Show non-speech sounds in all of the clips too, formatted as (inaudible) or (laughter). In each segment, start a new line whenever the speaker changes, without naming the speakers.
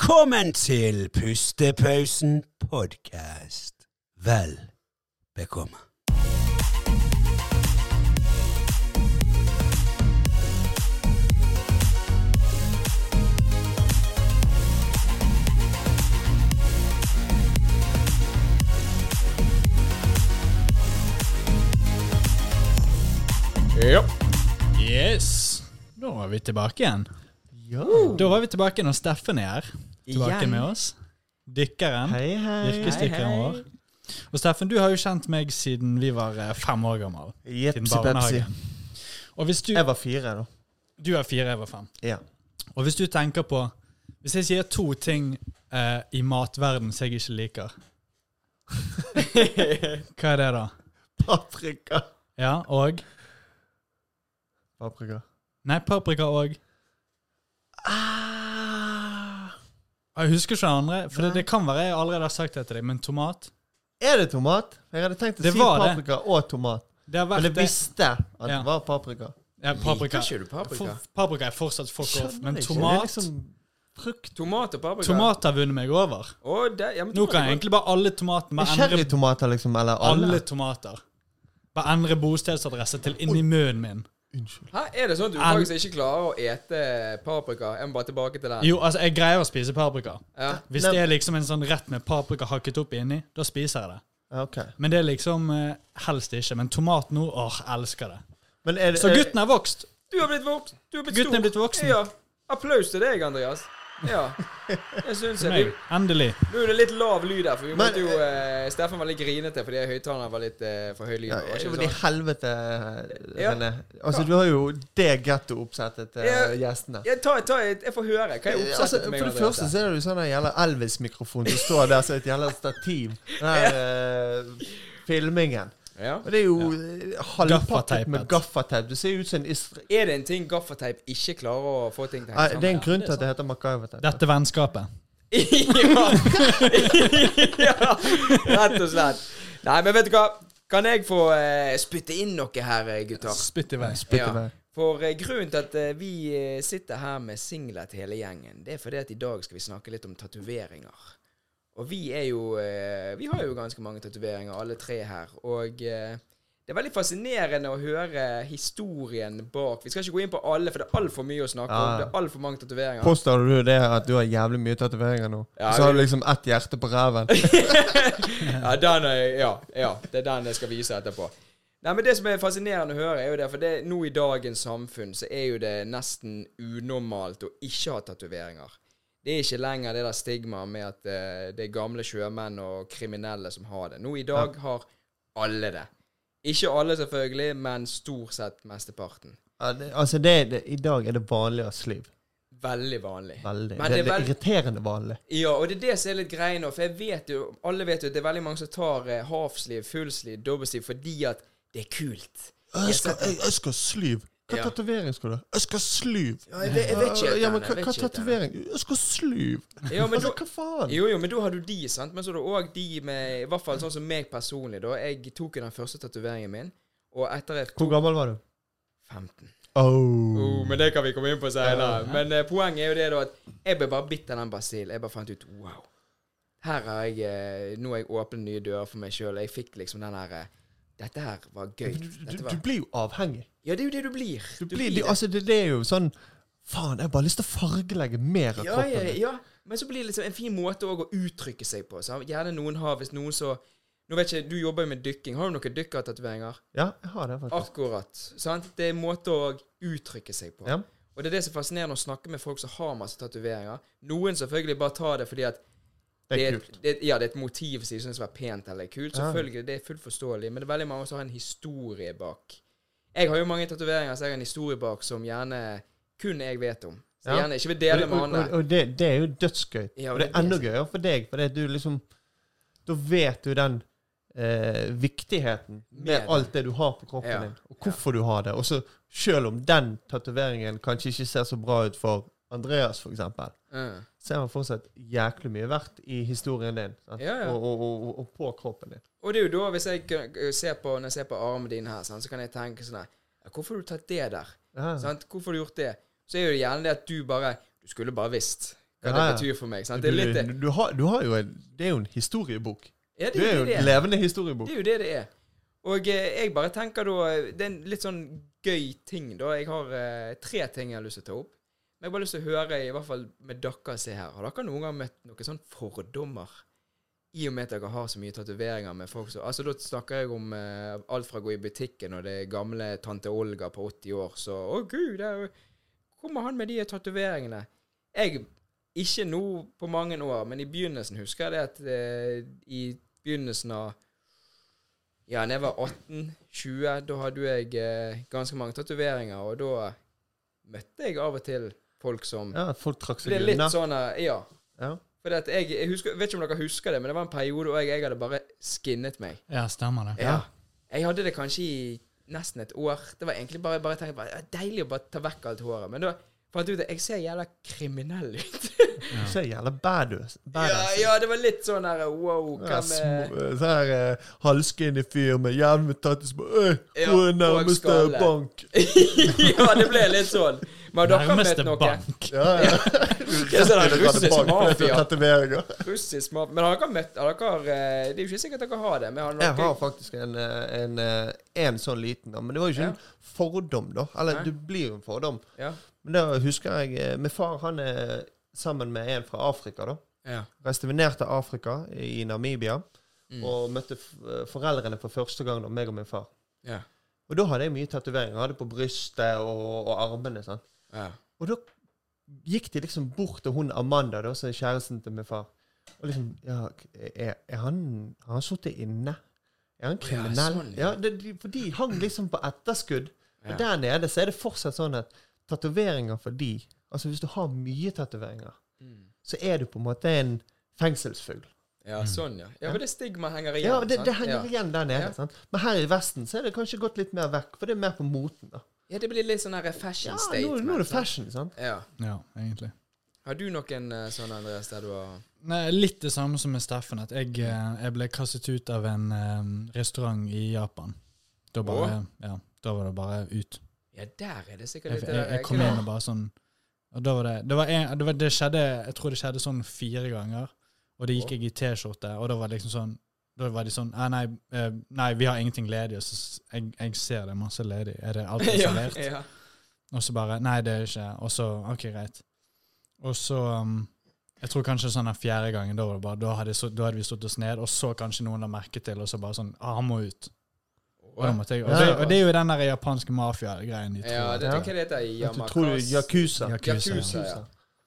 Velkommen til Pustepausen podkast. Vel bekomme.
Ja.
Yes! Da var vi tilbake igjen. Da var vi tilbake når Steffen er her. Tilbake
Igjen.
med oss. Dykkeren.
Hei, hei.
Yrkesdykkeren vår. Og Steffen, du har jo kjent meg siden vi var eh, fem år gammel. Siden
Jepsi pepsi.
barnehagen. Og hvis du,
Jeg var fire, da.
du er fire, jeg var fem.
Ja.
Og hvis du tenker på Hvis jeg sier to ting eh, i matverden som jeg ikke
(laughs)
liker, hva er det da?
Paprika.
Ja, og?
Paprika.
Nei, paprika og Ah. Jeg husker ikke det andre, for det, det kan være jeg allerede har sagt det til deg, men tomat
Er det tomat? Jeg hadde tenkt å
Det
si
var det.
paprika og tomat.
Det har
Men
vært
jeg
det.
visste at det
Ja.
var paprika.
Ja, paprika.
Liker ikke du paprika?
For, paprika er fortsatt fuck off,
Skjønner
men
ikke. Det er
tomat
liksom frukt.
Tomat og paprika.
Tomat har vunnet meg over.
Å, det, ja, men
Nå
tomat
kan
er
jeg egentlig bare alle tomatene
Er
bare endre
cherrytomater, liksom? Eller alle?
alle tomater. Bare endre bostedsadresse til inni munnen min.
Unnskyld.
godt. Hæ, er det sånn at du
An-
faktisk ikke klarer å ete paprika? Jeg må bare tilbake til den.
Jo, altså, jeg greier å spise paprika.
Ja.
Hvis
Nei.
det er liksom en sånn rett med paprika hakket opp inni, da spiser jeg det.
Ja, OK.
Men det er liksom eh, helst ikke. Men tomat nå, åh, elsker det.
Men er det
Så
er-
gutten er vokst.
Du har blitt voksen. Du har blitt
Gutten
stor.
er blitt voksen.
Ja. Applaus til deg, Andreas. Ja. Jeg syns jeg.
Meg. Endelig.
Du- Nå er det litt lav lyd her, for vi
Men-
måtte jo eh, Steffen var litt grinete fordi høyttaleren var litt eh, for høy lyd.
ja,
var ikke
ja, men i
sånn?
helvete,
Ja.
René. Altså, du har jo det getto-oppsettet til
Ja.
gjestene.
ja, ta, ta, jeg, jeg får høre. Hva er oppsettet
Altså,
til meg?
for det
Andreas?
første så er det jo sånn en jævla Elvis-mikrofon som står der som et jævla stativ. Den
(laughs)
her eh, filmingen.
ja.
Og det er jo eh, halvpakket
Gaffateipet.
med gaffateip. Du ser ut som en istre...
Er det en ting gaffateip ikke klarer å få ting til å
Nei,
henge
det er en
sammen?
grunn til at det heter MacGyver-teip.
Dette vennskapet.
ja. (laughs) ja, rett og slett. Nei, men vet du hva? Kan jeg få eh, spytte inn noe her, eh, gutter?
Spytt i vei.
Spytt i vei.
For eh, grunnen til at eh, vi eh, sitter her med singlet hele gjengen, det er fordi at i dag skal vi snakke litt om tatoveringer. Og vi er jo eh, Vi har jo ganske mange tatoveringer, alle tre her. Og eh, det er veldig fascinerende å høre historien bak. Vi skal ikke gå inn på alle, for det er altfor mye å snakke om.
Ja.
Det er altfor mange tatoveringer.
Påstår du det at du har jævlig mye tatoveringer nå?
Ja,
så har du liksom ett hjerte på
(laughs)
ræven?
Ja, den er, ja, ja, det er den jeg skal vise etterpå. Nei, men Det som er fascinerende å høre, er jo det, for det, nå i dagens samfunn så er jo det nesten unormalt å ikke ha tatoveringer. Det er ikke lenger det der stigmaet med at eh, det er gamle sjømenn og kriminelle som har det. Nå i dag har alle det. Ikke alle, selvfølgelig, men stort sett mesteparten.
Ja, det, altså, det, er- det, i dag er det vanlig å ha sliv.
Veldig vanlig.
Veldig. det,
Men det er
det
vel-
er irriterende vanlig.
Ja, og det er det som er litt greia nå. For jeg vet jo, alle vet jo at det er veldig mange som tar eh, halfsliv, fullsliv, dobbeltsliv fordi at det er kult.
Jeg skal, jeg, jeg skal ha sliv. Hva
Ja.
tatovering skal du ha? Jeg skal ha sliv.
Ja, jeg, vet- jeg vet ikke.
Ja, men hva,
Tane, jeg vet
hva
ikke, Tane.
tatovering? Jeg skal ha sliv.
Ja, men
altså,
da,
hva faen?
jo, jo, men da har du de, sant. Men så har du òg de med I hvert fall sånn som meg personlig, da. Jeg tok jo den første tatoveringen min, og etter jeg
Hvor
tok
gammel var du?
15.
Oh.
Oh, men det kan vi komme inn på senere. Men eh, poenget er jo det da at jeg ble bare bitt av den basillen. Jeg bare fant ut wow. Her har jeg eh, Nå har jeg åpnet nye dører for meg sjøl. Jeg fikk liksom den her eh, Dette her var gøy.
Du, du,
Dette
du
var,
blir jo avhengig.
ja, det er jo det du blir.
Du blir, det, altså, det, det er jo sånn Faen, jeg har bare lyst til å fargelegge mer av
ja,
kroppen.
ja,
min.
ja. Men så blir det liksom en fin måte også å uttrykke seg på. Så gjerne noen har Hvis noen så Nå vet ikke, Du jobber jo med dykking. Har du noen dykkertatoveringer?
Ja, jeg har det, faktisk.
Akkurat. sant? Det er en måte å uttrykke seg på.
Ja.
Og det er det som er fascinerende å snakke med folk som har masse tatoveringer. Noen selvfølgelig bare tar det fordi at
Det er
et-
kult.
Det, ja, det er et motiv som de syns var pent eller kult.
Ja.
Selvfølgelig, det er fullt forståelig, men det er veldig mange som har en historie bak. Jeg har jo mange tatoveringer som jeg har en historie bak som gjerne kun jeg vet om. Så
Ja.
gjerne ikke vil
Og, og,
dele med
og,
andre.
og det, det er jo dødsgøy.
Ja,
og det er enda gøyere for deg, fordi at du liksom Da vet du den eh, viktigheten
Med
med
det.
alt det du har på kroppen
Ja.
din, og hvorfor du har det. Og så selv om den tatoveringen kanskje ikke ser så bra ut for Andreas, for eksempel,
Mm.
så er han fortsatt jæklig mye verdt i historien din sant?
Ja, ja.
Og, og, og, og på kroppen din.
Og det er jo da, hvis jeg kun- ser på, når jeg ser på armen din her, sant, så kan jeg tenke sånn her ja, Hvorfor har du tatt det der?
Ja.
Sant? Hvorfor har du gjort det? Så er jo det gjerne det at du bare Du skulle bare visst. hva
Ja, ja.
det betyr for meg. Sant?
Du,
Det er litt det.
du, du, har, du har jo en Det er jo en historiebok.
Ja,
Du
det
er jo
er
en
det.
levende historiebok.
Det er jo det det er. Og eh, jeg bare tenker da eh, Det er en litt sånn gøy ting, da. Jeg har eh, tre ting jeg har lyst til å ta opp. Men jeg har bare lyst til å høre, i hvert fall med dere se her Har dere noen gang møtt noen sånne fordommer? I og med at dere har så mye tatoveringer med folk som Altså, da snakker jeg om eh, alt fra å gå i butikken, og det er gamle tante Olga på 80 år, så Å, gud, det er jo Kommer han med de tatoveringene? Jeg Ikke nå på mange år, men i begynnelsen husker jeg det at eh, i begynnelsen av ja, da jeg var 18-20, da hadde jo jeg eh, ganske mange tatoveringer, og da møtte jeg av og til folk som
Ja, folk trakk
For det
seg
er litt
unna.
sånn eh, Ja.
Ja.
For det at jeg, jeg husker, vet ikke om dere husker det, men det var en periode hvor jeg, jeg hadde bare skinnet meg.
Ja, stemmer det.
Ja. Jeg hadde det kanskje i nesten et år. Det var egentlig bare, bare tenkte, bare, ja, deilig å bare ta vekk alt håret. Men da fant jeg ut at jeg ser jævla kriminell ut.
Du ser jævla badass
sånn- ja,
badass ut.
ja, det var litt sånn her wow, hva
Ja,
med (laughs)
små- eh, Sånn her eh, halvskinny fyr med jevn tattis på Øy,
Ja,
hvor er
og
nærmeste
skalle.
bank?
Ja, det ble litt sånn. Men har dere møtt
Nærmeste
noe?
bank.
Ja, ja.
(laughs) Ja, så er det russisk
Bank,
mafia.
for (laughs) tatoveringer.
Russisk mat. Men har dere møtt har dere, eh, Det er jo ikke sikkert dere har det. Men har dere,
Jeg har faktisk en, eh, en, eh, en sånn liten, da. men det var jo ikke
Ja.
en fordom, da. Eller
Nei.
det blir jo en fordom.
Ja.
Men da husker jeg eh, Min far han er sammen med en fra Afrika, da.
Ja.
Reiste vi ned til Afrika, i Namibia,
Mm.
og møtte f eh, foreldrene for første gang, da, meg og min far.
Ja.
Og da hadde jeg mye tatoveringer. Hadde på brystet og, og armene. Sånn.
Ja.
Og da gikk de liksom bort til hun Amanda, da, som er kjæresten til min far. Og liksom Ja, er, er han Har han sittet inne? Er han kriminell? Ja,
sånn, ja.
det, de, for de hang liksom på etterskudd. Og
Ja.
der nede så er det fortsatt sånn at tatoveringer for de Altså hvis du har mye tatoveringer,
Mm.
så er du på en måte en fengselsfugl.
ja,
Mm.
sånn, ja. Ja, for det stigmaet henger igjen.
Ja, det, det
sant?
henger
ja.
igjen der nede.
Ja.
Sant? Men her i Vesten så er det kanskje gått litt mer vekk, for det er mer på moten. da.
ja, det blir litt sånn her fashion
Ja, nå,
statement.
nå er det fashion, sant?
sant? Ja.
Ja, egentlig.
Har du noen eh, sånne, Andreas, der du har
Nei, litt det samme som med Steffen. At jeg, eh, jeg ble kastet ut av en eh, restaurant i Japan. Da bare Ja, da var det bare ut.
Ja, der er det sikkert
Jeg,
litt eh,
jeg, jeg kom inn og bare sånn Og da var det Det, var en, det, var, det skjedde Jeg tror det skjedde sånn fire ganger. Og det gikk jeg i T-skjorte, og da var det liksom sånn da var de sånn «Ah, nei, eh, nei, vi har ingenting ledig. Og så s- jeg, jeg ser det er masse ledig. Er det
(laughs)
alt
(laughs) ja,
servert?
ja.
Og så bare Nei, det er det ikke. Og så OK, greit. Og så um, Jeg tror kanskje sånn den fjerde gangen, da, var det bare, da, hadde, jeg så, da hadde vi stått oss ned, og så kanskje noen la merke til, og så bare sånn ah, 'Han må ut'. Og, da måtte jeg, og, det, og det er jo den der japanske mafia-greien de tror. eh,
ja, det
Ja.
tenker jeg det heter i
Ja, du tror du
Yamakas.
Yakuza.
Yakuza, ja.
Yakuza, ja.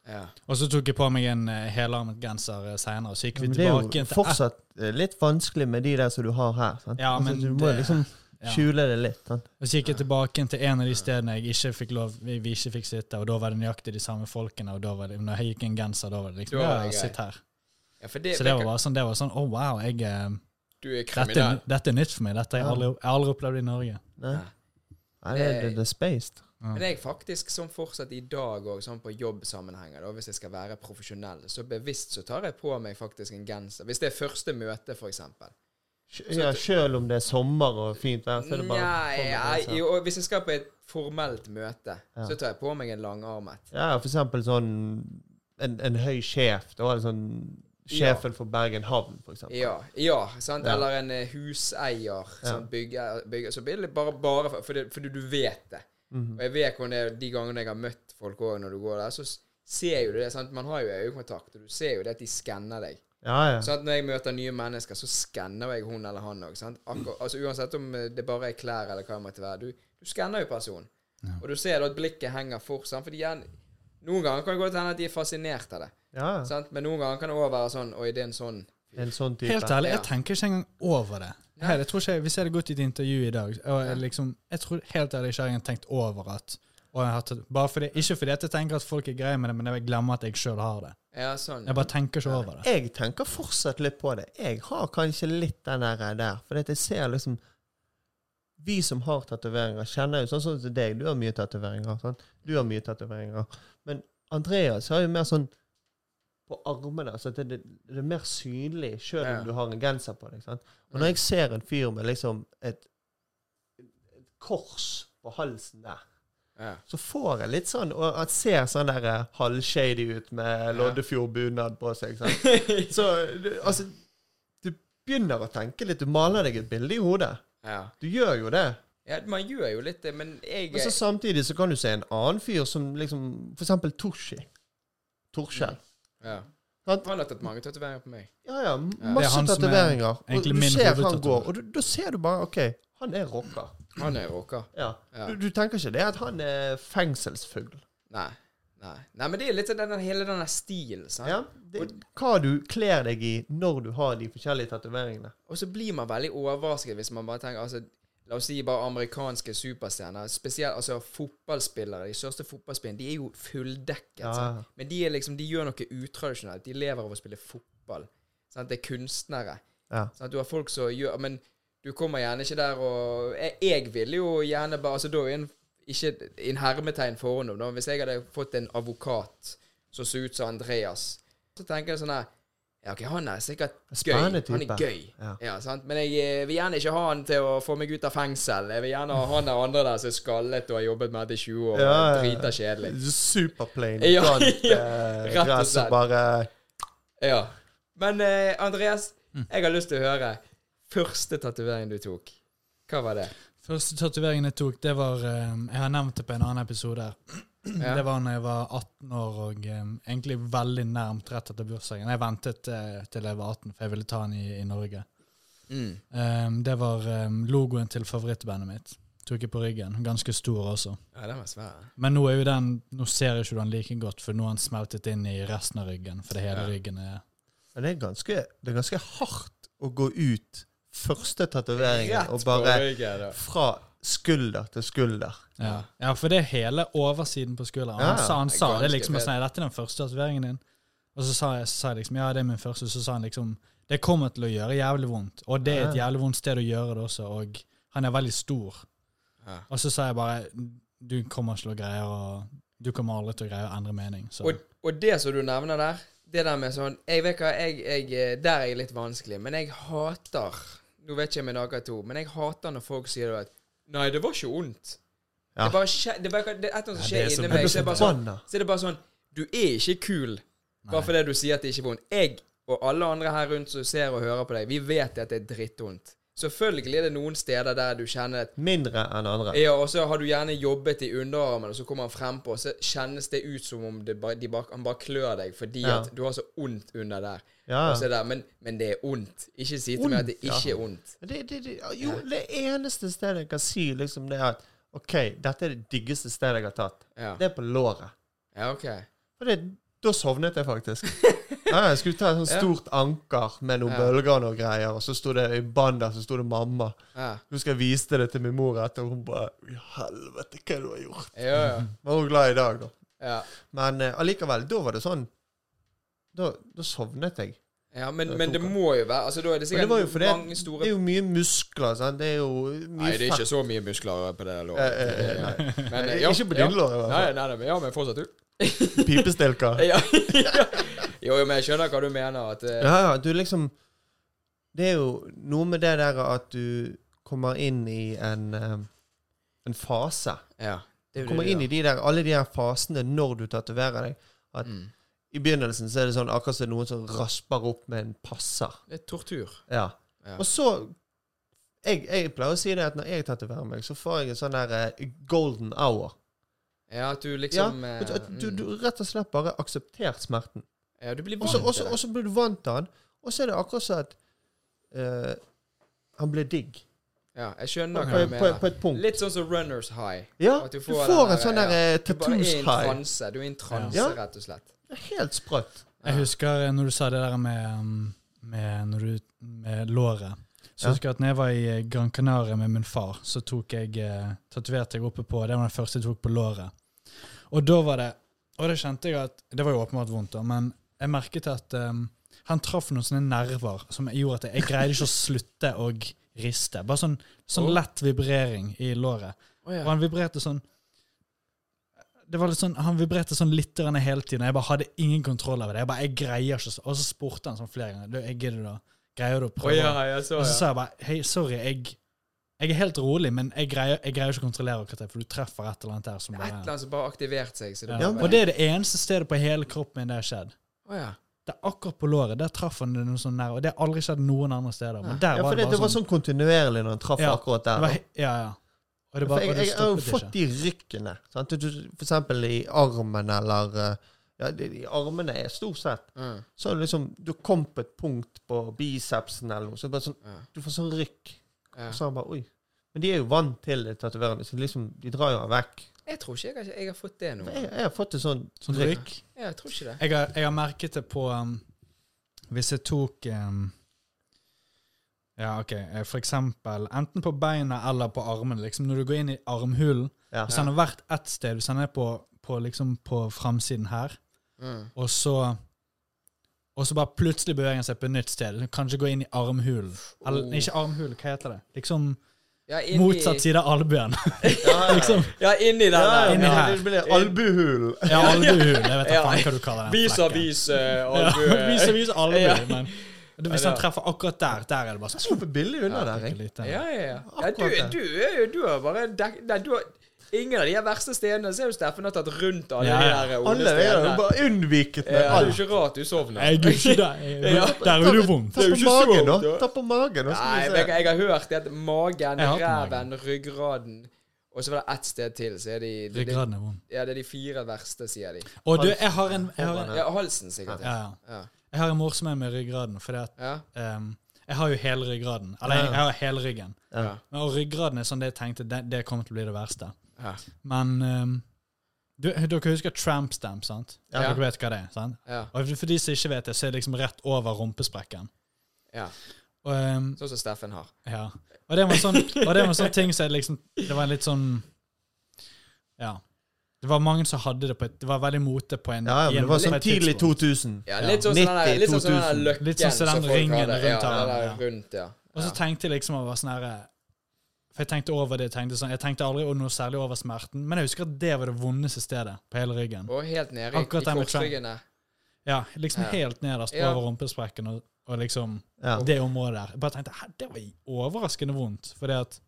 Ja.
Og så tok jeg på meg en uh, helarmet genser uh, seinere, så gikk vi
Men det er
tilbake
jo
igjen til
fortsatt eh, litt vanskelig med de der som du har her. Sant?
Ja, men
altså, du må
det-
liksom
ja.
skjule det litt. Sant?
Og så gikk jeg tilbake igjen til en av de stedene jeg ikke fikk lov, vi, vi ikke fikk sitte, og da var det nøyaktig de samme folkene, og da var det, når jeg gikk i en genser, da var det liksom
Da var
Ja,
det greit.
sitt her.
ja, for det,
Så det var bare sånn, det var sånn Å, wow, jeg eh,
Du er
dette,
kriminell.
dette er nytt for meg. Dette har jeg aldri, jeg har aldri opplevd i Norge.
Nei,
Ja.
Nei det, det, det er spaced.
Men jeg faktisk, som fortsatt i dag òg, sånn på jobbsammenhenger, da, hvis jeg skal være profesjonell, så bevisst så tar jeg på meg faktisk en genser. Hvis det er første møte, for eksempel.
Sj- Ja, Sjøl om det er sommer og fint vær, så er det bare
Nei,
å få med
jeg,
det, sant?
jo, hvis jeg skal på et formelt møte, så tar jeg på meg en langarmet.
Ja, for eksempel sånn en, en høy sjef. Da var det sånn Sjefen for Bergen havn, for eksempel.
Ja, ja, sant?
Ja.
Eller en eh, huseier. Sånn, bygge, bygge, så blir det bare, bare for, fordi, fordi du vet det.
Mhm.
Og jeg vet hvordan det er de gangene jeg har møtt folk òg, når du går der, så s- ser jo du det. sant? Man har jo øyekontakt, og du ser jo det at de skanner deg.
Ja, ja.
Sånn at Når jeg møter nye mennesker, så skanner jeg hun eller han òg. Altså, uansett om eh, det bare er klær eller hva det måtte være. Du, du skanner jo personen. Og du ser da at blikket henger fort. Sant? Fordi gjerne, noen ganger kan det godt hende at de er fascinert av det.
ja. ja.
Sant? Men noen ganger kan det òg være sånn Oi, det er en sånn
En sånn type.
Helt ærlig, jeg
Ja.
tenker ikke engang over det. Hei, jeg tror ikke, jeg- Hvis jeg hadde gått i et intervju i dag og jeg liksom, Jeg tror helt ærlig ikke jeg hadde tenkt over at og jeg har tatt, bare fordi, Ikke fordi at jeg tenker at folk er greie med det, men jeg glemmer at jeg sjøl har det.
Ja, sånn.
Jeg bare tenker ikke over det.
Jeg tenker fortsatt litt på det. Jeg har kanskje litt den der, der for jeg ser liksom Vi som har tatoveringer, kjenner jo sånn som til deg. Du har mye tatoveringer. Sant? Du har mye tatoveringer. Men Andreas har jo mer sånn på armene, så det, det, det er mer synlig sjøl
Ja.
om du har en genser på deg. Sant? Og når jeg ser en fyr med liksom et, et kors på halsen der,
Ja.
så får jeg litt sånn Og jeg ser sånn der eh, halvshady ut med Loddefjord-bunad på seg. Sant? (laughs) Så du- altså Du begynner å tenke litt. Du maler deg et bilde i hodet.
Ja.
Du gjør jo det.
ja, man gjør jo litt det, men jeg
Men så samtidig så kan du se en annen fyr som liksom For eksempel Torshi. Torskjell.
ja.
Sant?
Han har tatt mange tatoveringer på meg.
Ja, ja.
Det er
Masse
han som er
tatoveringer. Og
egentlig
du
min
ser han
hovedtatovering.
går, og du, da ser du bare OK, han er rocker.
Han er rocker.
Ja.
Ja.
Du, du tenker ikke det at han er fengselsfugl.
Nei. Nei. Nei, men det er litt sånn den, hele den der stilen, sant.
Ja? Det, hva du kler deg i når du har de forskjellige tatoveringene.
Og så blir man veldig overrasket hvis man bare tenker altså, La oss si bare amerikanske superstjerner. Spesielt altså fotballspillere. De største fotballspillerne de er jo fulldekket.
Ja.
sant? Men de, er liksom, de gjør noe utradisjonelt. De lever av å spille fotball. Sant? Det er kunstnere.
Ja.
Sant? Du har folk som gjør Men du kommer gjerne ikke der og Jeg, jeg ville jo gjerne bare altså, Da er en, ikke en hermetegn forhånd om da, Hvis jeg hadde fått en advokat som så ut som Andreas, så tenker jeg sånn her Ja, OK, han er sikkert gøy. Han
Spennende
er
type.
gøy.
Ja.
Ja, sant? Men jeg eh, vil gjerne ikke ha han til å få meg ut av fengsel. Jeg vil gjerne ha han der andre der som er skallet og har jobbet med dette i 20 år.
Ja,
og
ja, ja.
Drita kjedelig.
Superplain.
Ja,
Ja,
ja.
Eh,
Rett og
gress og
slett.
bare
Ja. Men eh, Andreas,
Mm.
jeg har lyst til å høre første tatoveringen du tok. Hva var det?
Første tatoveringen jeg tok, det var um, Jeg har nevnt det på en annen episode. her.
Mm,
Ja.
Det var når jeg var 18 år og um, egentlig veldig nærmt rett etter bursdagen. Jeg ventet eh, til jeg var 18, for jeg ville ta den i, i Norge.
Mm.
Um, det var um, logoen til favorittbandet mitt. Tok jeg på ryggen. Ganske stor også.
Ja, den var svær.
Men nå er jo den Nå ser jeg ikke den like godt, for nå har den smeltet inn i resten av ryggen. For det hele
Ja.
ryggen er
Men det er ganske, det er ganske hardt å gå ut første tatoveringen og
Rett på
bare
ryggen. da.
fra skulder til skulder.
ja. ja, for det er hele oversiden på skulderen.
Ja,
Han
ja.
sa, han
Det er
sa det
ganske
liksom og
fett.
sa, Er dette den første tatoveringen din? Og så sa jeg, så sa jeg liksom ja, det er min første. Så sa han liksom det kommer til å gjøre jævlig vondt. Og det er et
Ja.
jævlig vondt sted å gjøre det også. Og han er veldig stor.
Ja.
Og så sa jeg bare du kommer ikke til å greie å Du kommer aldri til å greie å endre mening. Så
Og, og det som du nevner der, det der med sånn Jeg vet hva, jeg, jeg, der er jeg litt vanskelig, men jeg hater Nå vet ikke jeg med dere to, men jeg hater når folk sier at Nei, det var ikke vondt.
Ja.
Det, bare skje, det, bare, det er et eller annet som
Ja, det
skjer
er så-
Jeg
inni meg.
blir
Så det er bare sånn,
forbanna.
så er det bare sånn Du er ikke kul bare fordi du sier at det ikke er vondt. Jeg og alle andre her rundt som ser og hører på deg, vi vet at det er drittvondt. Selvfølgelig er det noen steder der du kjenner at
Mindre enn andre.
ja, og så har du gjerne jobbet i underarmen, og så kommer han frempå, og så kjennes det ut som om det bare, de bare, han bare klør deg fordi
Ja.
at du har så ondt under der.
Ja.
Og så er det, men, men det er ondt. Ikke si til meg at det
Ondt, ja.
ikke er ondt.
Men Det, det, det, jo, det eneste stedet jeg kan si, liksom, det er at OK, dette er det diggeste stedet jeg har tatt.
Ja,
Det er på låret.
ja ok.
Og det, da sovnet jeg faktisk.
(laughs)
Ja, jeg skulle ta et sånt
Ja.
stort anker med noen
Ja.
bølger og noe greier, og så sto det i bånd der så sto det mamma.
Ja,
Husker jeg viste det til min mor etter, og hun bare I helvete, hva er det du har gjort?
ja, ja.
Var hun glad i dag, da?
ja.
Men eh, allikevel, da var det sånn Da, da sovnet jeg.
ja men,
Det
men det
tok han.
må jo være altså, Da er
Men
det
det
sikkert
var jo fordi
mange
at
store
det er jo mye muskler, sant. Det er jo mye
Nei, det er
fett.
ikke så mye muskler på det låret.
Eh, eh, eh, nei.
Men,
Nei,
eh, ja,
ikke på altså. briller, i
Ja.
hvert
Nei,
fall.
nei, nei, men ja, men fortsatt du. (laughs)
Pipestilker.
Ja. Jo, jo, men jeg skjønner hva du mener. At, eh,
Ja, ja, du liksom Det er jo noe med det der at du kommer inn i en eh, En fase.
ja. Det er jo det
Kommer
du
inn
gjør.
i de der, alle de der fasene når du tatoverer deg. at-
Mm.
I begynnelsen så er det sånn akkurat som det er noen som rasper opp med en passer.
Det er tortur.
Ja.
Ja.
Og så jeg, jeg pleier å si det at når jeg tatoverer meg, så får jeg en sånn der eh, golden hour.
Ja, at du
Ja,
liksom eh,
at at du,
mm.
du rett og slett bare akseptert smerten.
Ja, du blir
Og
vant
så-
til
Og så
det.
og så blir du vant til han, og så er det akkurat som at eh, han ble digg.
Ja, jeg skjønner
På, på,
hva du
på,
mener.
et punkt.
Litt sånn som runners high.
Ja,
at
du
du
får,
får den
en
der,
sånn der
ja.
eh,
Du bare er i en sånn
tattoos-high.
transe. Du er i en transe,
Ja.
rett og slett.
Helt sprøtt.
Jeg husker eh, når du sa det der med, um, med, når du, med låret. Så
Ja.
husker jeg at når jeg var i eh, Gran Canaria med min far, så tok jeg eh, tatoverte jeg oppe på Det var den første jeg tok på låret. Og da var det Og det kjente jeg at Det var jo åpenbart vondt, da, men jeg merket at um, han traff noen sånne nerver som gjorde at jeg, jeg greide ikke å slutte å riste. Bare sånn, sånn
Oh.
lett vibrering i låret.
Å ja.
Og han vibrerte sånn det var litt sånn, Han vibrerte sånn litt grann hele tiden. og Jeg bare hadde ingen kontroll over det. Jeg bare, jeg greier ikke, så- Og så spurte han sånn flere ganger. Du, jeg gidder da. Greier du å
Å
prøve?
ja, jeg så,
Og så
ja.
sa jeg bare hei, sorry, jeg Jeg er helt rolig, men jeg greier, jeg greier ikke å kontrollere akkurat det, for du treffer et eller annet der som
Det er et eller
bare
annet som bare har aktivert seg. Så det
ja.
bare,
Og det er det eneste stedet på hele kroppen min det har skjedd.
Å ja.
Det er akkurat på låret. Der traff han det noe sånn der, og det har aldri skjedd noen andre steder. Men der
Ja, for
var
det,
det
det var
bare sånn.
sånn kontinuerlig når han traff
Ja, Det
akkurat der.
var,
da.
he- ja, ja. Og det
For
bare,
jeg,
og det
jeg har jo
stoppet
fått
ikke.
de rykkene. Sant? Du, du- for eksempel i armen eller eh, ja, de, de armene er stort sett
Mm.
Så liksom, du kom på et punkt på bicepsen eller noe, så bare sånn,
Ja.
du får sånn rykk.
Ja.
Og så han bare, oi. Men de er jo vant til det tatoverende, så liksom, de drar jo han vekk.
Jeg tror ikke jeg, har- jeg har fått det nå.
For Jeg, jeg har fått et sånn
Sånn
rykk.
rykk.
Ja, Jeg tror ikke det.
Jeg har, jeg har merket det på um, Hvis jeg tok um, Ja, OK. eh, For eksempel enten på beina eller på armen. Liksom, når du går inn i armhulen
Ja.
Hvis han har vært ett sted, hvis han er på, på, liksom, på framsiden her,
Mm.
og så og så bare plutselig beveger han seg på et nytt sted. Kanskje gå inn i armhulen. Eller
Oh.
nei, ikke armhulen, hva heter det? Liksom
Ja, inni,
motsatt side av albuen. (laughs) liksom.
Ja, inni
Ja,
den der.
inni
ja,
her.
det blir albuhulen.
Ja, albuhulen. Jeg vet da
Ja.
faen hva du kaller den.
Vis
flekken.
avis, eh,
Ja,
albue.
vis og vis albue.
(laughs) Ja.
Men det- hvis
Ja,
han
da.
treffer akkurat der, der er det bare sånn eh.
Super billig unna der,
Bitte
jeg.
lite.
Ja, ja, ja. ja
Akkurat
du,
det.
du er jo du har bare dek, Nei, du har Ingen av de her verste stedene ser jo Steffen har tatt rundt alle
Ja, ja.
de der onde
Alle er jo
stedene.
bare unnviket
Ja, det
med
er jo
alt.
ikke rart du sovner.
Jeg gjør ikke det.
(laughs) Ja.
Jeg- Der er det vondt.
Ta
Det er jo
på
ikke så
magen,
vondt,
da.
ja.
Ta på magen, og så
Nei,
skal
men
vi se.
jeg, jeg har hørt det at magen,
Jeg har hatt
ræven, ryggraden Og så var det ett sted til, så er de, de, de,
Ryggraden er vond.
ja, det er de fire verste, sier de.
Og du, jeg har en, jeg har en,
Ja, halsen sikkert.
ja,
Ja.
ja.
Ja.
Jeg har en morsom en med ryggraden, fordi at
Ja.
ehm, jeg har jo hele ryggraden. Eller jeg, jeg har hele ryggen.
Ja.
Men, og ryggraden er sånn det jeg tenkte, det, det kommer til å bli det verste.
Ja.
Men ehm, du, dere husker tramp stamp, sant?
Ja.
Dere vet hva det er, sant?
ja.
Og for de som ikke vet det, så er det liksom rett over rumpesprekken.
ja.
Og, ehm,
Sånn som Steffen har.
Ja. Og det var en sånn, og det var en sånn ting som jeg liksom Det var en litt sånn Ja. Det var mange som hadde det på et Det var veldig mote på en
Ja, ja,
i
men
en-
det var
på
sånn
et
tidlig
tidspunkt.
2000.
Ja,
Ja.
litt sånn som den der-
90,
litt sånn som den der
2000.
løkken.
Litt sånn som den
folk
ringen
hadde.
rundt her,
Ja,
ja.
den der rundt, ja.
Og så
Ja.
tenkte jeg liksom over sånn herre For jeg tenkte over det. Jeg tenkte, sånn, jeg tenkte aldri noe særlig over smerten, men jeg husker at det var det vondeste stedet på hele ryggen.
Og helt nede i, i
Akkurat den med
korsryggen der.
Ja, liksom
Ja.
helt nederst
Ja.
over rumpesprekken og, og liksom
Ja.
det området der. Jeg bare tenkte hæ, det var overraskende vondt. Fordi at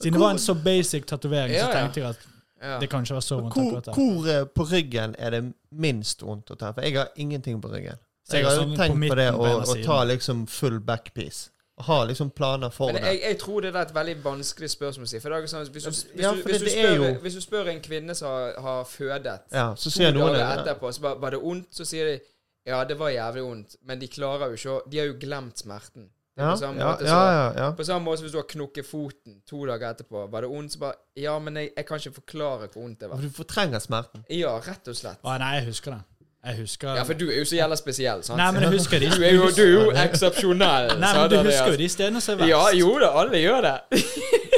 siden det var en så basic tatovering,
Ja,
så
ja.
tenkte jeg at
Ja.
det kan ikke være så vondt
Hvor,
akkurat der.
hvor eh, på ryggen er det minst vondt å ta? For jeg har ingenting på ryggen.
Så jeg
jeg har
har
jo
sånn på
tenkt på,
midten
det
på
å,
ene
å
siden.
ta liksom full backpiece. Og ha liksom planer for det.
Men jeg, jeg tror det er et veldig vanskelig spørsmål å si. For det er jo sånn, hvis, du, hvis,
Ja,
du,
for
hvis, du
det er
spør,
jo-
hvis du spør en kvinne som har, har fødet
Ja, så
to
sier noen
dager
det.
etterpå, så bare var det ondt, så sier de ja, det var jævlig vondt, men de klarer jo ikke å De har jo glemt smerten. Det er
Ja,
på samme
ja,
liksom måte
ja,
så-
ja, ja.
På samme måte som hvis du har knukket foten to dager etterpå. Var det ondt, så bare Ja, men jeg, jeg kan ikke forklare hvor vondt det var.
Du fortrenger smerten.
Ja, rett og slett.
Å, nei, jeg husker det. Jeg husker
Ja, for du er jo så jævla spesiell, sant?
Nei, men jeg husker de
Du er (laughs) jo, du
(laughs)
er jo eksepsjonell.
Nei,
sa
men du
Andreas.
husker jo de stedene som er verst.
Ja, jo da, alle gjør det.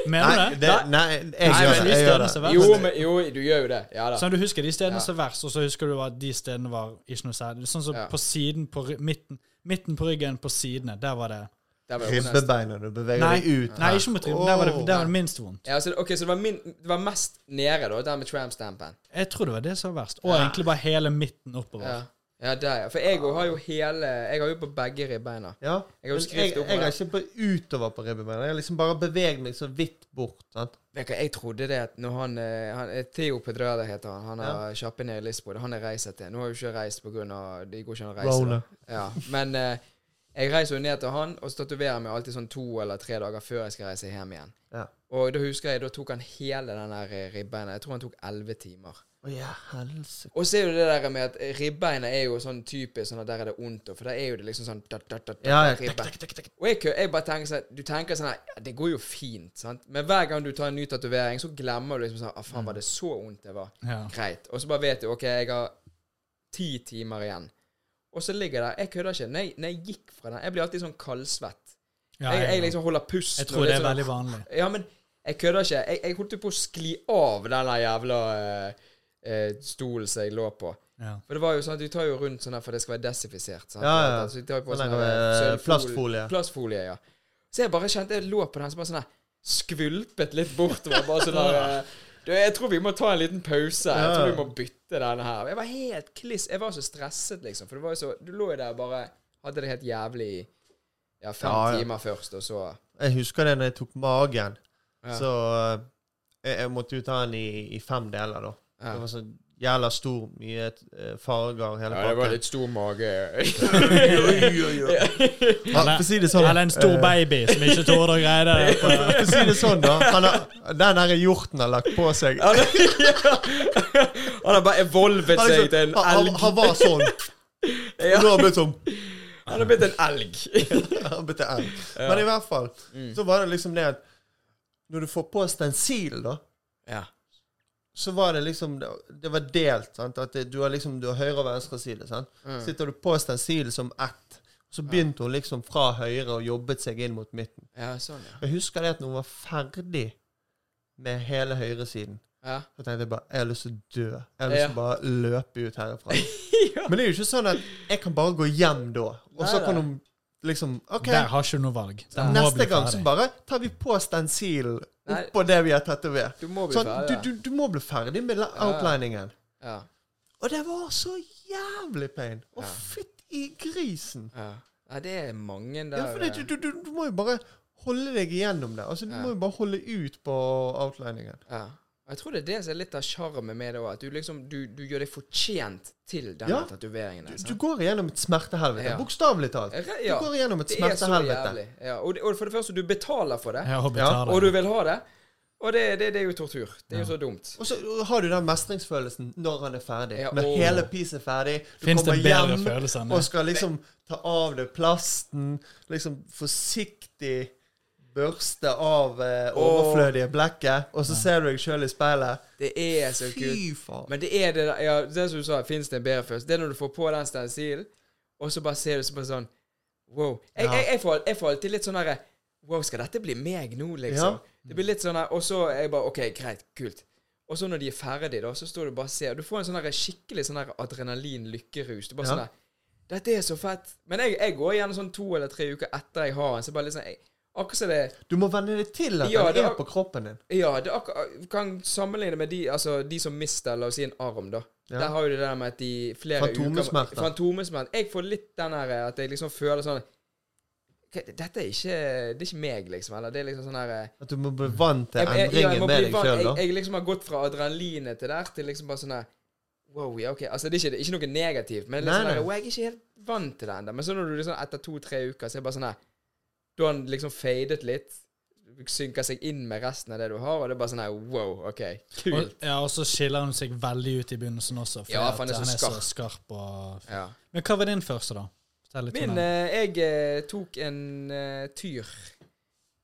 Mener
Nei,
du det?
det, nei, jeg
Nei,
gjør
men
det.
de
Jeg gjør
stedene som
det.
er
Jo,
verst.
men, jo, du gjør jo det. Ja da.
Sånn, du husker de stedene
Ja.
som er verst, og så husker du at de stedene var ikke noe særlig. Sånn som
Ja.
på siden, på ry- midten, midten på ryggen, på sidene. Der var det
Der var det ondest.
Ribbebeina, du beveger
Nei,
deg ut.
nei ikke mot ryggen. Der var det,
Åh.
der var det minst vondt.
Ja, så, det- ok, så det var, min, det var mest nede, da, der med tramstampen.
Jeg tror det var det som var verst. Og egentlig bare hele midten oppover.
Ja. ja, der, ja. For jeg òg har jo hele Jeg har jo på begge ribbeina.
Ja.
Jeg har jo
Men
skrevet
Jeg,
opp
jeg
her.
har ikke på utover på ribbebeina. Jeg har liksom bare beveger meg så vidt bort. Sant?
Vet du hva, Jeg trodde det at når han, eh, han eh, Theo Pedrada heter han. Han er kjappe nede i Lisboa. Han jeg reiser til. Nå har jeg jo ikke reist på grunn av Det går ikke an å reise. da.
Rona.
Ja, men eh, jeg reiser jo ned til han, og så tatoverer jeg meg alltid sånn to eller tre dager før jeg skal reise hjem igjen.
Ja.
Og da husker jeg, da tok han hele den der eh, ribbeina. Jeg tror han tok elleve timer.
Å ja, helsike.
Og så er jo det der med at ribbeina er jo sånn typisk sånn at der er det ondt, og for der er jo det liksom sånn da, da, da, da,
Ja, ja.
ribbe. Og jeg, kø- jeg bare tenker sånn Du tenker sånn her ja, Det går jo fint, sant? Men hver gang du tar en ny tatovering, så glemmer du liksom sånn Å, faen, var det så vondt det var?
Ja.
Greit. Og så bare vet du OK, jeg har ti timer igjen. Og så ligger jeg der Jeg kødder ikke. Når jeg, når jeg gikk fra den Jeg blir alltid sånn kaldsvett.
Ja,
jeg, jeg
jeg,
liksom holder pusten.
jeg tror
og
det er
sånn-
veldig vanlig.
ja, men jeg kødder ikke. Jeg, jeg holdt jo på å skli av den der jævla eh, eh, stolen som jeg lå på.
Ja.
For det var jo sånn at Du tar jo rundt sånn her for det skal være desinfisert. sant?
Ja, ja.
Så du tar jo på
Sånn
sånn
der,
her,
eh,
sølvfolie-
plastfolie.
Plastfolie, ja. Så jeg bare kjente jeg lå på den, så bare sånn her skvulpet litt bortover. Bare
(laughs)
sånn der eh, du, Jeg tror vi må ta en liten pause. Jeg tror vi må bytte denne her. Jeg var helt kliss Jeg var så stresset, liksom. For det var jo så Du lå jo der og bare hadde det helt jævlig i ja, fem
Ja, ja.
timer først, og så
Jeg husker det når jeg tok magen.
Ja.
Så eh, jeg, jeg måtte jo ta den i, i fem deler, da.
Ja.
Det var så jævla stor, mye eh, farger, hele
Ja, det var
pakken.
litt stor mage.
(laughs)
(laughs)
Ja, for å si det sånn
Eller en stor baby som ikke torde å
(laughs)
greie det.
For å si det sånn, da. Han har, den her hjorten har lagt på seg.
Han Han har bare evolvet
Han, er
seg til
sånn,
en
han, han,
elg.
han var sånn.
(laughs) Ja.
Nå har han blitt sånn. (laughs)
Han har blitt en elg.
Han har blitt en elg. Men i hvert fall,
Mm.
så var det liksom det at Når du får på stensil, da,
Ja.
så var det liksom Det, det var delt. sant? At det, du har liksom du har høyre og venstre side. sant?
Mm.
Sitter du på stensilen som ett, så begynte hun liksom fra høyre og jobbet seg inn mot midten.
ja, sånn, ja.
Jeg husker det at når hun var ferdig med hele høyresiden,
Ja.
så tenkte jeg bare Jeg har lyst til å dø. Jeg har lyst
Ja.
til å bare løpe ut
(laughs)
herifra. Men det er jo ikke sånn at jeg kan bare gå hjem da, og så
Nei,
kan
nei.
hun liksom OK.
Der har ikke du noe valg. Den må
Neste
bli
gang så
ferdig.
bare tar vi på stensilen
Nei.
oppå det vi har tatovert.
Du må bli
Sånn, du,
ferdig.
du, du må bli ferdig med la-
Ja.
outliningen.
Ja.
Og det var så jævlig pain. Å,
Ja.
fytti grisen.
Ja. ja, det er mange der.
Ja, for det, du, du, du, du må jo bare holde deg igjennom det. Altså, du
Ja.
må jo bare holde ut på outliningen.
Ja. Og Jeg tror det er det som er litt av sjarmen med det òg. At du liksom du, du gjør deg fortjent til denne
Ja.
tatoveringen.
Du,
der,
du
sant?
går igjennom et smertehelvete.
Ja.
Bokstavelig talt.
Re-
Du
ja,
går igjennom et
det er så
smertehelvete.
jævlig. Ja, og, det, og for det første, du betaler for det,
Ja, og
Ja,
betaler.
og du vil ha det. Og det, det, det er jo tortur. Det er jo så dumt.
Og så har du den mestringsfølelsen når han er ferdig.
Ja,
når
åh.
hele pisen er ferdig. Du
Finnes det
kommer
bedre
hjem
følelser enn det?
og skal liksom ta av deg plasten. Liksom forsiktig børste av eh, overflødige blekket, og så ser du deg sjøl i speilet.
Det er så kult.
Fy faen.
Men det er det der- ja, det som du sa, fins det en bedre følelse? Det er når du får på den stensilen, og så bare ser du så bare sånn Wow. Jeg,
Ja.
jeg, jeg, får, jeg får alltid litt sånn derre Wow, skal dette bli meg nå, liksom?
Ja.
Det blir litt sånn der, og så er jeg bare OK, greit, kult. Og så når de er ferdig, da, så står du bare og ser. Du får en sånn derre skikkelig sånn der adrenalin-lykkerus. Du bare
Ja.
sånn der Dette er så fett. Men jeg, jeg går gjerne sånn to eller tre uker etter jeg har den, så bare liksom jeg, Akkurat som det
Du må venne deg til at
Ja,
den
det
er
har-
på kroppen din.
ja, det akkurat, kan sammenligne med de, altså, de som mister la oss si en arm, da.
Ja.
Der har jo det der med at de flere
Fantomesmerter.
uker Fantomesmerter. Jeg får litt den her at jeg liksom føler sånn "Ok, Dette er ikke Det er ikke meg, liksom. Eller det er liksom sånn her
At du må bli vant til
jeg, jeg, ja, jeg,
endringen
må
med
bli
deg
vant-
sjøl, da.
jeg, jeg liksom har gått fra adrenalinet til der til liksom bare sånn her Wow, ja, OK. Altså, det er ikke, det er ikke noe negativt, men det er
Nei,
sånn her,
nei.
wow, jeg er ikke helt vant til det ennå. Men så når du liksom etter to-tre uker, så er det bare sånn her Da har den liksom fadet litt, synker seg inn med resten av det du har, og det er bare sånn her Wow, OK.
Og,
Kult.
ja, og så skiller han seg veldig ut i begynnelsen også, for
Ja,
at
for
han er så skarp. og...
Ja.
Men hva var din første, da? Fortell litt
Min
om den.
eh, Jeg eh, tok en eh, tyr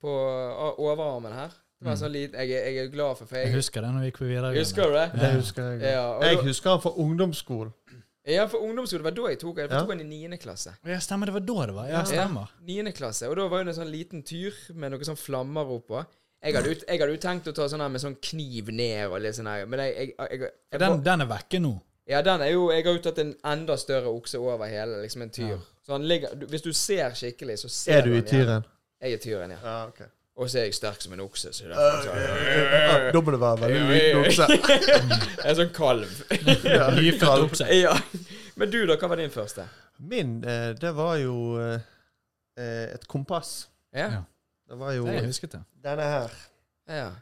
på a- overarmen her. Det var en sånn liten Jeg, er- jeg er glad for, for
Jeg
eh, jeg
husker det når vi gikk på videregående.
Husker du det?
Mm. Det husker jeg.
Ja, og
jeg
da-
husker han fra ungdomsskolen.
Ja, for ungdomsskolen var da jeg tok den. Jeg
Ja.
tok den i niende klasse.
Ja, stemmer, det var da det var. Ja, stemmer.
Niende klasse. Og da var det en sånn liten tyr med noen sånn flammer oppå. Jeg hadde, ut, jeg hadde jo tenkt å ta sånn her med sånn kniv ned og litt sånn her, men jeg, jeg, jeg, jeg,
For Den, den er vekke nå.
Ja, den er jo Jeg har jo tatt en enda større okse over hele, liksom en tyr. Så han ligger du- Hvis du ser skikkelig, så ser
Er du i
han, Ja.
tyren?
Jeg er tyren, ja.
Ja, ok.
Og så er jeg sterk som en okse. Så det er,
Ah, Da må det være veldig liten (laughs) okse.
(laughs) jeg er sånn kalv.
Ja,
Nyfødt oppsett.
ja. Men du, da? Hva var din første?
Min, eh, det var jo eh, eh, et kompass.
Ja.
Ja.
Det var jo
Jeg husket det.
denne her.
ja.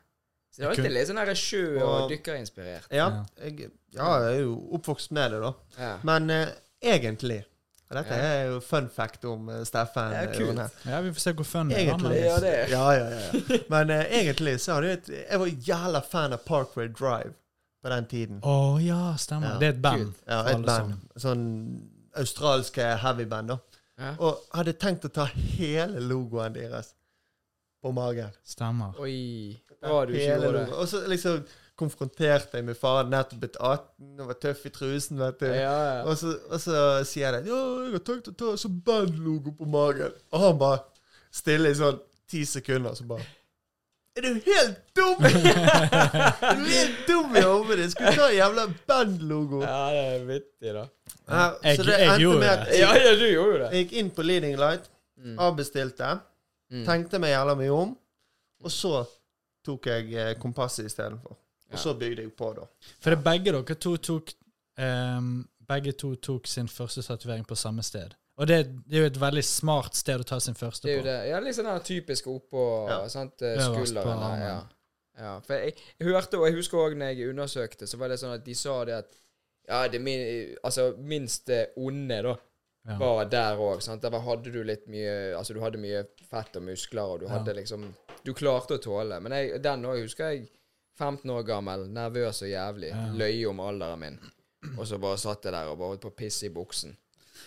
Så det er alltid litt sånn her sjø- og dykkerinspirert.
Ja,
Ja.
jeg, ja, jeg er jo oppvokst med det, da.
Ja.
Men eh, egentlig og Dette
Ja.
er jo fun fact om eh, Steffen.
Ja,
eh,
kult.
Rune.
Ja, vi får se hvor fun det er.
Egentlig.
men-
Ja, det er
Ja, ja, ja,
(laughs)
ja. Men eh, egentlig så hadde jeg et Jeg var jævla fan av Parkway Drive på den tiden.
Å ja, stemmer.
Ja.
Det er et band.
Ja,
for
et
alle
band.
som-
Sånn australske heavyband, da.
Ja.
Og hadde tenkt å ta hele logoen deres på magen.
Stemmer.
Oi. Bra du ikke
Hele
gjorde det.
logoen. Og så liksom konfronterte jeg med faren nettopp blitt 18 og var tøff i trusen, vet du.
Ja, ja.
Og, så, og så sier jeg det. 'Ja, jeg har tenkt å ta så bandlogo på magen.' Og han bare stille i sånn ti sekunder, så bare er du helt dum?! (laughs) Du er helt dum i hodet ditt! Skulle ta en jævla bandlogo!
ja, det er vittig, da.
Ja, så
Jeg-
det
jeg
endte
gjorde
med at
det.
Ja,
jeg,
ja, du gjorde jo det.
jeg gikk inn på Leading Light,
Mm.
avbestilte,
Mm.
tenkte meg jævla mye om, og så tok jeg eh, kompasset istedenfor.
Ja.
Og så bygde jeg på, da.
For det er begge dere to tok ehm, Begge to tok sin første tatovering på samme sted. Og Og det, det er jo et veldig smart sted å ta sin første
Det er jo
på.
det. Ja, liksom den typiske oppå
Ja.
sant, eh,
Øverst på
skulderen. der, Ja.
armen.
Ja, for jeg, jeg hørte, og jeg husker òg når jeg undersøkte, så var det sånn at de sa det at ja, det min, altså, minst eh, onde, da,
Ja.
var der òg. Der var- hadde du litt mye Altså, du hadde mye fett og muskler, og du
Ja.
hadde liksom Du klarte å tåle. Men jeg, den òg husker jeg. 15 år gammel, nervøs og jævlig.
Ja.
Løy om alderen min. Og så bare satt jeg der og bare holdt på å pisse i buksen.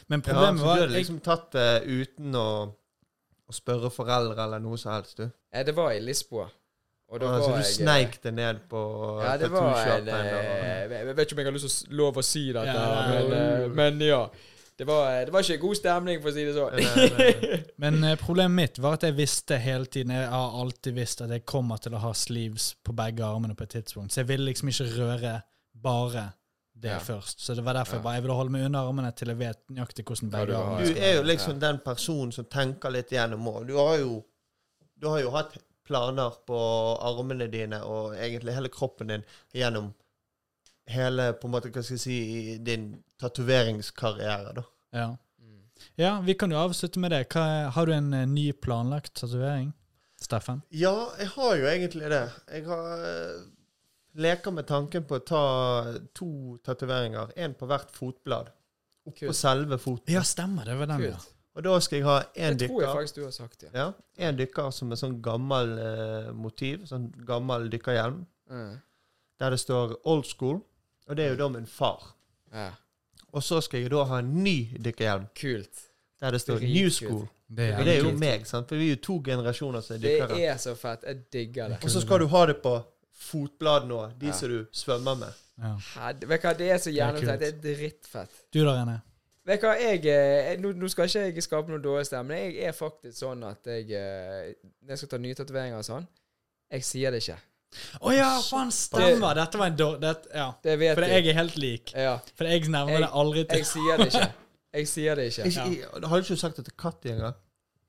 Men
Ja, så
problemet
du
var
hadde liksom tatt det uten å, å spørre foreldre eller noe som helst, du.
Eh, Det var i Lisboa. Og da
Ah,
var
så du
jeg eh,
sneik det ned på
Ja, det var en eh,
tattoo-shoppen?
Jeg jeg vet ikke om jeg har lyst til å s- lov å si dette,
Ja,
men,
ja.
eh, men ja. Det var, eh, det var ikke god stemning, for å si
(laughs)
det sånn. (laughs)
Eh, Men eh, problemet mitt var at jeg visste hele tiden Jeg har alltid visst at jeg kommer til å ha sleeves på begge armene på et tidspunkt. Så jeg ville liksom ikke røre bare det
Ja.
først. Så det var derfor
Ja.
jeg bare jeg ville holde meg under armene til jeg vet nøyaktig hvordan
Hva du
begge
har.
armene
Du
skal
er jo liksom den personen som tenker litt gjennom år. Du har jo Du har jo hatt planer på armene dine og egentlig hele kroppen din gjennom hele på en måte, hva skal jeg si, i din tatoveringskarriere, da.
ja.
Mm.
ja, vi kan jo avslutte med det. Hva, har du en eh, ny planlagt tatovering, Steffen?
Ja, jeg har jo egentlig det. Jeg har eh, leker med tanken på å ta to tatoveringer. Én på hvert fotblad. Oppå
Kult.
selve foten.
Ja, stemmer. Det var den, ja.
Kult.
Og da skal jeg ha én
Det tror jeg
dykker.
faktisk du har sagt, ja.
Ja, En dykker som er sånn gammel eh, motiv. Sånn gammel dykkerhjelm.
Mm.
der det står old school, og det er jo da min far.
ja.
Og så skal jeg da ha en ny dykkerhjelm
Kult.
der det står
Dritkult.
new school.
Det
Og det er jo meg, sant? for vi er jo to generasjoner som er
Det
dykkere.
er så fett. Jeg digger det.
Og så skal du ha det på fotbladene òg, de
Ja.
som du svømmer med.
Ja.
Ja, det- vet du hva, det er så
er
gjennomtenkt. Det er drittfett.
Du da, René?
Vet du hva, jeg, eh, jeg, nå, nå skal ikke jeg skape noen dårlig stemme, men jeg er faktisk sånn at jeg eh, Når jeg skal ta nye tatoveringer og sånn, jeg sier det ikke.
Å ja, faen, stemmer! Dette var en dårlig det- Ja.
Det vet
For jeg er helt lik.
Ja.
For jeg nevner
Jeg-
det aldri til
Jeg sier det ikke. Jeg sier det ikke.
Ikke, i- har du ikke sagt det til Katti engang?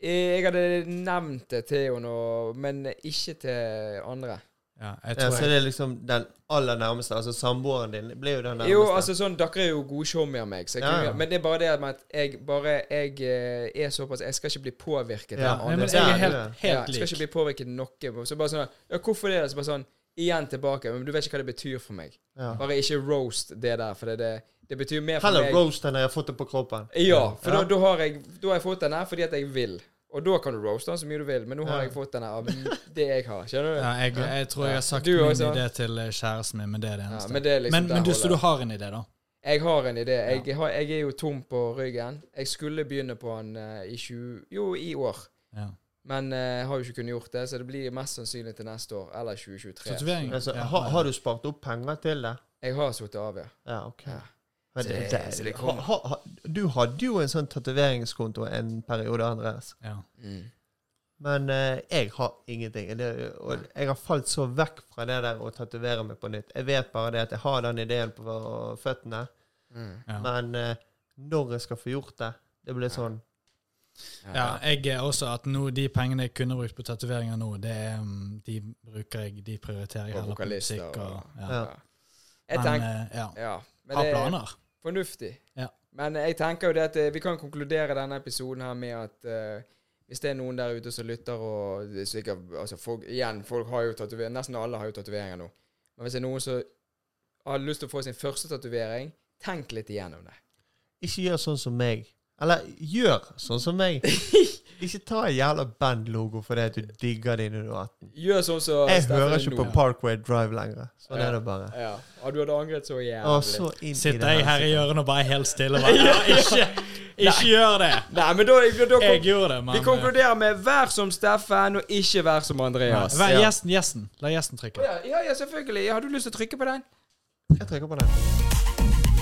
Eh, Jeg hadde nevnt det til henne, og- men ikke til andre.
Ja, jeg
Ja,
tror jeg.
så det er liksom den aller nærmeste. Altså samboeren din ble jo den nærmeste.
Jo, altså sånn, Dere er jo gode showmer av meg, så jeg
Ja,
kunne-
ja.
men det er bare det med at jeg bare jeg eh, er såpass Jeg skal ikke bli påvirket
Ja,
av
Nei,
andre.
men jeg
Der,
er helt,
du er.
ja,
helt
jeg skal ikke
lik.
bli påvirket noe. Så bare sånn Ja, hvorfor det? er det?» Så bare sånn Igjen tilbake. Men du vet ikke hva det betyr for meg.
ja.
Bare ikke roast det der, for det, det, det betyr mer for
Heller
meg.
roast enn jeg har fått det på kroppen.
Ja, for
Ja.
Da, da, har jeg, da har jeg fått den her fordi at jeg vil. Og da kan du roaste den så mye du vil, men nå har
Ja.
jeg fått den her av det jeg har. Skjønner du?
Ja, jeg, jeg tror jeg har sagt
Du
min
også?
idé til eh, kjæresten min, men det er det
Ja,
eneste.
men det er liksom
men
der
men du, så
holder
du har en idé, da?
Jeg har en idé. Jeg, har, jeg er jo tom på ryggen. Jeg skulle begynne på den eh, i 20... Jo, i år.
Ja.
Men eh, jeg har jo ikke kunnet gjort det, så det blir mest sannsynlig til neste år eller 2023.
Tatovering?
Altså,
Ja,
har, har du spart opp penger til det?
Jeg har sittet av, ja.
Ja, ok.
Ja.
Men
Så
det,
det-
det,
så det
ha,
kommer.
ha, ha- du hadde jo en sånn tatoveringskonto en periode, Andreas.
ja. Mm.
Men eh, jeg har ingenting. Det, og jeg har falt så vekk fra det der å tatovere meg på nytt. Jeg vet bare det at jeg har den ideen på føttene,
Mm.
Ja.
men eh, når jeg skal få gjort det Det blir sånn
ja, jeg er også at nå, de pengene jeg kunne brukt på tatoveringer nå, det er, mm, de bruker jeg, de prioriterer jeg
Og
heller på
vokalister
musikk og
og-
ja.
Ja.
Jeg
Men
tenker
eh, ja.
Ja. Men
ha
det er
planer.
fornuftig.
Ja.
Men jeg tenker jo det at eh, vi kan konkludere denne episoden her med at eh, hvis det er noen der ute som lytter og det er sikkert, altså folk, Igjen, folk har jo tatoveringer. Nesten alle har jo tatoveringer nå. Men hvis det er noen som har lyst til å få sin første tatovering, tenk litt igjennom det.
Ikke gjør sånn som meg. Eller gjør sånn som meg.
(laughs)
Ikke ta en jævla bandlogo fordi at du digger det når du er 18.
Gjør sånn som
Jeg
Steffen
hører ikke
nå.
på Parkway Drive lenger. Sånn
Ja.
er det bare.
Ja. Og du hadde angret så jævlig.
Og så inn i det
Sitter jeg her i
helsike.
hjørnet og bare er helt
(laughs)
stille? Bare, ja, ikke, ikke gjør det!
Nei, men da, da, da
Jeg gjorde det, men
Vi konkluderer med 'vær som Steffen', og ikke 'vær som
ja. eh,
Andreas'.
Vær- Gjesten, gjesten. La gjesten trykke.
Ja, ja, ja, selvfølgelig. Har du lyst til å trykke på den?
Jeg trykker på den.